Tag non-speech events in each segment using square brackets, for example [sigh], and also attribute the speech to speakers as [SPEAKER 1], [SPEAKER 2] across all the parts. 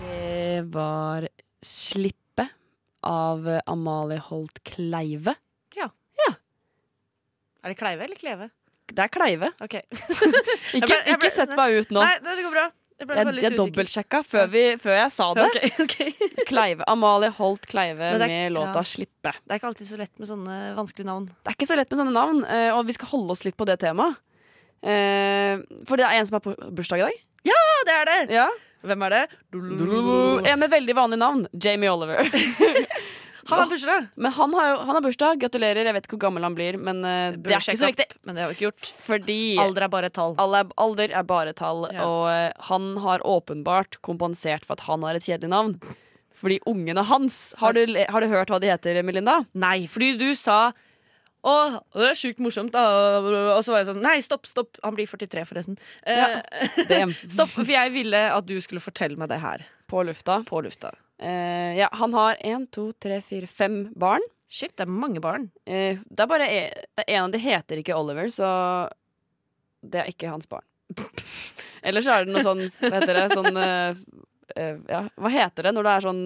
[SPEAKER 1] Det var 'Slippe' av eh, Amalie Holt Kleive.
[SPEAKER 2] Er det Kleive eller Kleve?
[SPEAKER 1] Det er Kleive.
[SPEAKER 2] Ok.
[SPEAKER 1] Ikke,
[SPEAKER 2] ble- jeg ble-
[SPEAKER 1] ikke sett meg ut nå.
[SPEAKER 2] Nei, det det går bra. Jeg ble
[SPEAKER 1] Jeg,
[SPEAKER 2] bare litt
[SPEAKER 1] jeg
[SPEAKER 2] usikker.
[SPEAKER 1] dobbeltsjekka før, vi, før jeg sa
[SPEAKER 2] [laughs]
[SPEAKER 1] det.
[SPEAKER 2] Ok, ok.
[SPEAKER 1] Kleive. Amalie Holt Kleive
[SPEAKER 2] Men det er-
[SPEAKER 1] med låta
[SPEAKER 2] ja.
[SPEAKER 1] 'Slippe'.
[SPEAKER 2] Det er ikke alltid så lett med sånne vanskelige navn.
[SPEAKER 1] Det er ikke så lett med sånne navn, eh, og vi skal holde oss litt på det temaet. Eh, For det er en som har på- bursdag i dag.
[SPEAKER 2] Ja, det er det!
[SPEAKER 1] Ja.
[SPEAKER 2] Hvem er det?
[SPEAKER 1] En med veldig vanlig navn. Jamie Oliver. [laughs]
[SPEAKER 2] Han har bursdag!
[SPEAKER 1] Men han har, jo, han har bursdag. Gratulerer. Jeg vet ikke hvor gammel han blir, men eh, det er ikke så viktig.
[SPEAKER 2] Men det har vi ikke gjort.
[SPEAKER 1] Fordi
[SPEAKER 2] Alder er bare et tall.
[SPEAKER 1] alle er- alder er bare tall,
[SPEAKER 2] Ja.
[SPEAKER 1] og eh, han har åpenbart kompensert for at han har et kjedelig navn. Fordi ungene hans Har du, le- har du hørt hva de heter, Melinda?
[SPEAKER 2] Nei, fordi du sa å, det er sjukt morsomt, da. Og så var jeg sånn Nei, stopp, stopp. Han blir 43, forresten. Eh,
[SPEAKER 1] Dem.
[SPEAKER 2] [laughs] stopp, for jeg ville at du skulle fortelle meg det her
[SPEAKER 1] På lufta.
[SPEAKER 2] på lufta.
[SPEAKER 1] Eh, ja, han har én, to, tre, fire, fem barn.
[SPEAKER 2] Shit, det er mange barn.
[SPEAKER 1] Eh, det er bare e- det er en av de heter ikke Oliver, så det er ikke hans barn. [laughs] Eller så er det noe sånn Hva heter det? Sånn eh, eh, ja. Hva heter det når det er sånn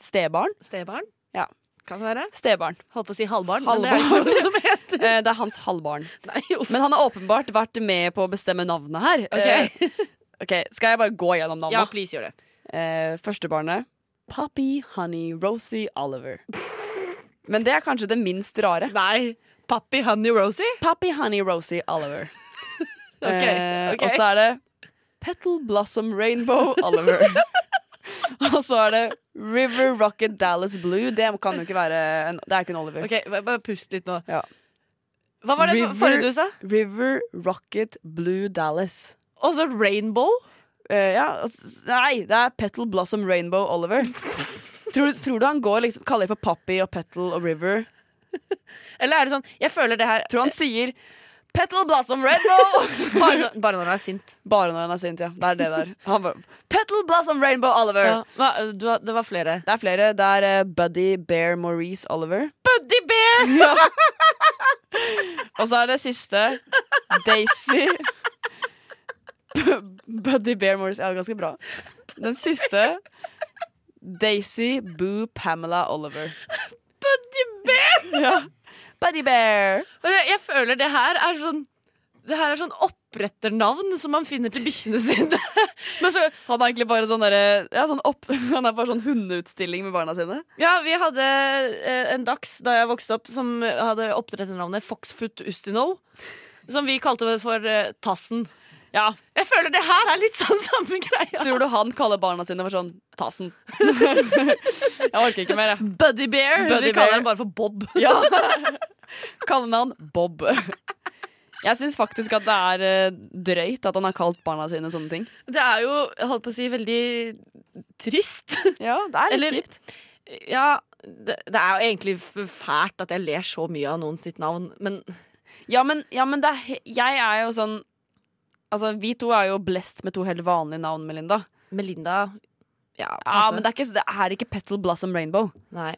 [SPEAKER 1] stebarn?
[SPEAKER 2] Stebarn?
[SPEAKER 1] Ja.
[SPEAKER 2] Kan det være?
[SPEAKER 1] Stebarn.
[SPEAKER 2] Holdt på å si halvbarn,
[SPEAKER 1] Halvbarn.
[SPEAKER 2] men [laughs] det er jo noe som heter
[SPEAKER 1] Eh, det er hans halvbarn.
[SPEAKER 2] Nei, uff.
[SPEAKER 1] Men han har åpenbart vært med på å bestemme navnet her. Eh,
[SPEAKER 2] Ok.
[SPEAKER 1] ok, Skal jeg bare gå gjennom
[SPEAKER 2] Ja,
[SPEAKER 1] navnet?
[SPEAKER 2] please gjør det.
[SPEAKER 1] Eh, første barnet Poppy Honey Rosie [laughs] Oliver. Men det er kanskje det minst rare.
[SPEAKER 2] Nei. Pappy Honey Rosie?
[SPEAKER 1] Poppy Honey Rosie [laughs] Oliver.
[SPEAKER 2] Ok,
[SPEAKER 1] Eh,
[SPEAKER 2] ok.
[SPEAKER 1] Og så er det Petal Blossom Rainbow Oliver. [laughs] og så er det River Rocket Dallas Blue. Det kan jo ikke være en, Det er ikke en Oliver.
[SPEAKER 2] Ok, bare- Bare pust litt nå.
[SPEAKER 1] Ja.
[SPEAKER 2] Hva var det
[SPEAKER 1] River-
[SPEAKER 2] forrige du sa?
[SPEAKER 1] River Rocket Blue Dallas.
[SPEAKER 2] Og så Rainbow?
[SPEAKER 1] Eh, ja, og s- nei, det er Petal Blossom Rainbow Oliver. tror, du- tror du han går liksom kaller de for Poppy og Petal og River?
[SPEAKER 2] Eller er det sånn Jeg føler det [laughs] her
[SPEAKER 1] Tror han sier Petal Blossom Rainbow!
[SPEAKER 2] bare, når- bare når han er sint.
[SPEAKER 1] Bare når han er sint, ja. Det er det der. Han bare Petal Blossom Rainbow Oliver!
[SPEAKER 2] Hva, du, har- det var flere.
[SPEAKER 1] Det er flere. Det er eh, Buddy Bear Maurice Oliver.
[SPEAKER 2] Buddy Bear!
[SPEAKER 1] Og så er det siste Daisy Bu- Buddy Bear Maurice. Ja, ganske bra. Den siste Daisy Boo Pamela Oliver.
[SPEAKER 2] Buddy Bear!
[SPEAKER 1] Ja. Buddy Bear.
[SPEAKER 2] Og jeg, jeg føler det her er sånn Det her er sånn oppretternavn som man finner til bikkjene sine. Men så
[SPEAKER 1] Han er egentlig bare sånn derre ja, sånn opp- [laughs] Han er bare sånn hundeutstilling med barna sine.
[SPEAKER 2] [laughs] Ja, vi hadde eh, en dags da jeg vokste opp som hadde oppdretternavnet Foxfoot Ustino. Som vi kalte det for eh, Tassen.
[SPEAKER 1] Ja,
[SPEAKER 2] Jeg føler det her er litt sånn samme greia.
[SPEAKER 1] Tror du han kaller barna sine for sånn [laughs] Tassen? jeg orker ikke mer, jeg.
[SPEAKER 2] Buddy Bear.
[SPEAKER 1] Buddy
[SPEAKER 2] vi kaller
[SPEAKER 1] Bear.
[SPEAKER 2] den bare for Bob.
[SPEAKER 1] Ja. [laughs] Kallenavn Bob. Jeg syns faktisk at det er eh, drøyt at han har kalt barna sine sånne ting.
[SPEAKER 2] Det er jo, jeg holdt på å si, veldig [laughs] trist.
[SPEAKER 1] Ja, det er
[SPEAKER 2] Eller- Ja, det, det er jo egentlig f- fælt at jeg ler så mye av noen sitt navn, men
[SPEAKER 1] Ja, men, ja, men det er, he- jeg er jo sånn Altså, vi to er jo blest med to helt vanlige navn, Melinda.
[SPEAKER 2] Melinda Ja,
[SPEAKER 1] Ja, men det er ikke, det er ikke Petal Blossom Rainbow.
[SPEAKER 2] Nei.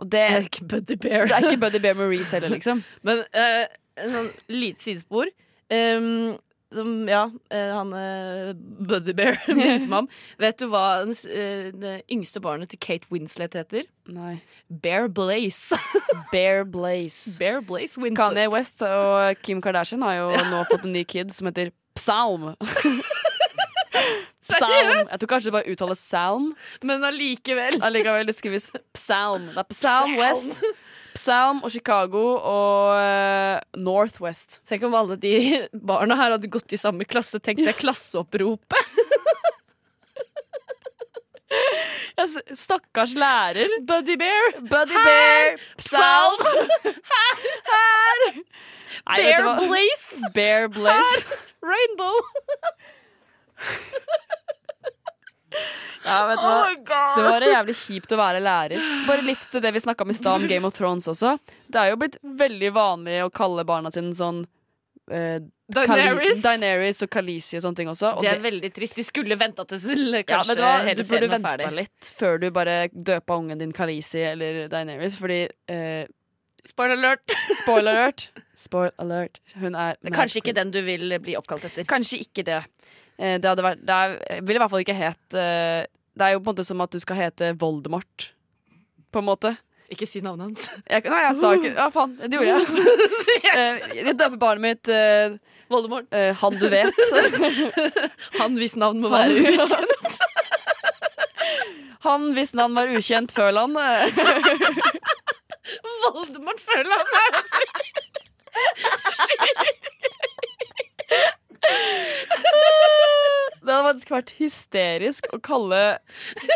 [SPEAKER 1] Og det,
[SPEAKER 2] Jeg Eh, er ikke Buddy Bear.
[SPEAKER 1] [laughs] det er ikke Buddy Bear Maurice heller, liksom.
[SPEAKER 2] Men eh, en sånn lite sidespor ehm, Som, ja, eh, han eh, Buddy Bear [laughs] minnet meg om. Vet du hva den, s- eh, det yngste barnet til Kate Winslet heter?
[SPEAKER 1] Nei.
[SPEAKER 2] Bear Blaze.
[SPEAKER 1] Bear Blaze.
[SPEAKER 2] Bear Blaze Winslet.
[SPEAKER 1] Kanye West og Kim Kardashian har jo nå fått en ny kid som heter Psalm.
[SPEAKER 2] [laughs]
[SPEAKER 1] Psalm. Jeg tror kanskje det bare uttales Salm.
[SPEAKER 2] Men allikevel. [laughs]
[SPEAKER 1] Allikevel, det skrives Psalm. Det er Psalm
[SPEAKER 2] Psalm.
[SPEAKER 1] West. Psalm og Chicago og eh, Northwest.
[SPEAKER 2] Tenk om alle de barna her hadde gått i samme klasse. Tenk deg klasseoppropet. [laughs]
[SPEAKER 1] Stakkars lærer.
[SPEAKER 2] Buddy Bear.
[SPEAKER 1] Buddy Bear, Psalm Nei, vet
[SPEAKER 2] Bear
[SPEAKER 1] du hva?
[SPEAKER 2] Blaze.
[SPEAKER 1] Bear Blaze.
[SPEAKER 2] Rainbow.
[SPEAKER 1] Ja, vet du hva?
[SPEAKER 2] Oh my god.
[SPEAKER 1] Det var jævlig kjipt å være lærer. Bare litt til det vi snakka om i stad om Game of Thrones også. Det er jo blitt veldig vanlig å kalle barna sine sånn eh, Kali-
[SPEAKER 2] Daenerys.
[SPEAKER 1] Daenerys og Kalisi og sånne ting også. Og
[SPEAKER 2] Det er veldig trist. De skulle venta til
[SPEAKER 1] ja,
[SPEAKER 2] kanskje
[SPEAKER 1] vet du hva?
[SPEAKER 2] hele
[SPEAKER 1] Du burde
[SPEAKER 2] serien var
[SPEAKER 1] venta
[SPEAKER 2] ferdig.
[SPEAKER 1] litt før du bare døpa ungen din Kalisi eller Daenerys, fordi eh,
[SPEAKER 2] Spoiler alert.
[SPEAKER 1] Spoiler alert! Spoil alert. Hun er
[SPEAKER 2] Det er kanskje ikke den du vil bli oppkalt etter.
[SPEAKER 1] Kanskje ikke det. Eh, Det, hadde vært, det er, ville i hvert fall ikke het eh, Det er jo på en måte som at du skal hete Voldemort, på en måte.
[SPEAKER 2] Ikke si navnet [laughs] hans.
[SPEAKER 1] Jeg, nei, jeg sa ikke Ja, faen,
[SPEAKER 2] [laughs]
[SPEAKER 1] det gjorde jeg. Eh, Jeg døper barnet mitt eh,
[SPEAKER 2] Voldemort.
[SPEAKER 1] eh, Han du
[SPEAKER 2] [laughs]
[SPEAKER 1] vet.
[SPEAKER 2] Han hvis navn må være ukjent.
[SPEAKER 1] Han hvis navn var ukjent, føler han. eh.
[SPEAKER 2] Voldemort føler han er altså
[SPEAKER 1] [laughs] Det hadde faktisk vært hysterisk å kalle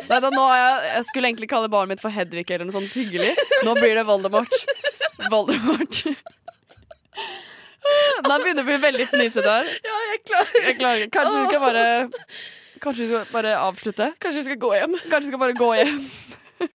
[SPEAKER 1] Nei, da, nå har jeg, jeg skulle egentlig kalle barnet mitt for Hedvig eller noe sånt hyggelig. Nå blir det Voldemort. Voldemort. Nei, jeg begynner å bli veldig fnisete her.
[SPEAKER 2] Ja, jeg klarer
[SPEAKER 1] Jeg klarer ikke. Kanskje vi skal bare Kanskje vi skal bare avslutte?
[SPEAKER 2] Kanskje vi skal gå hjem?
[SPEAKER 1] Kanskje vi skal bare gå hjem?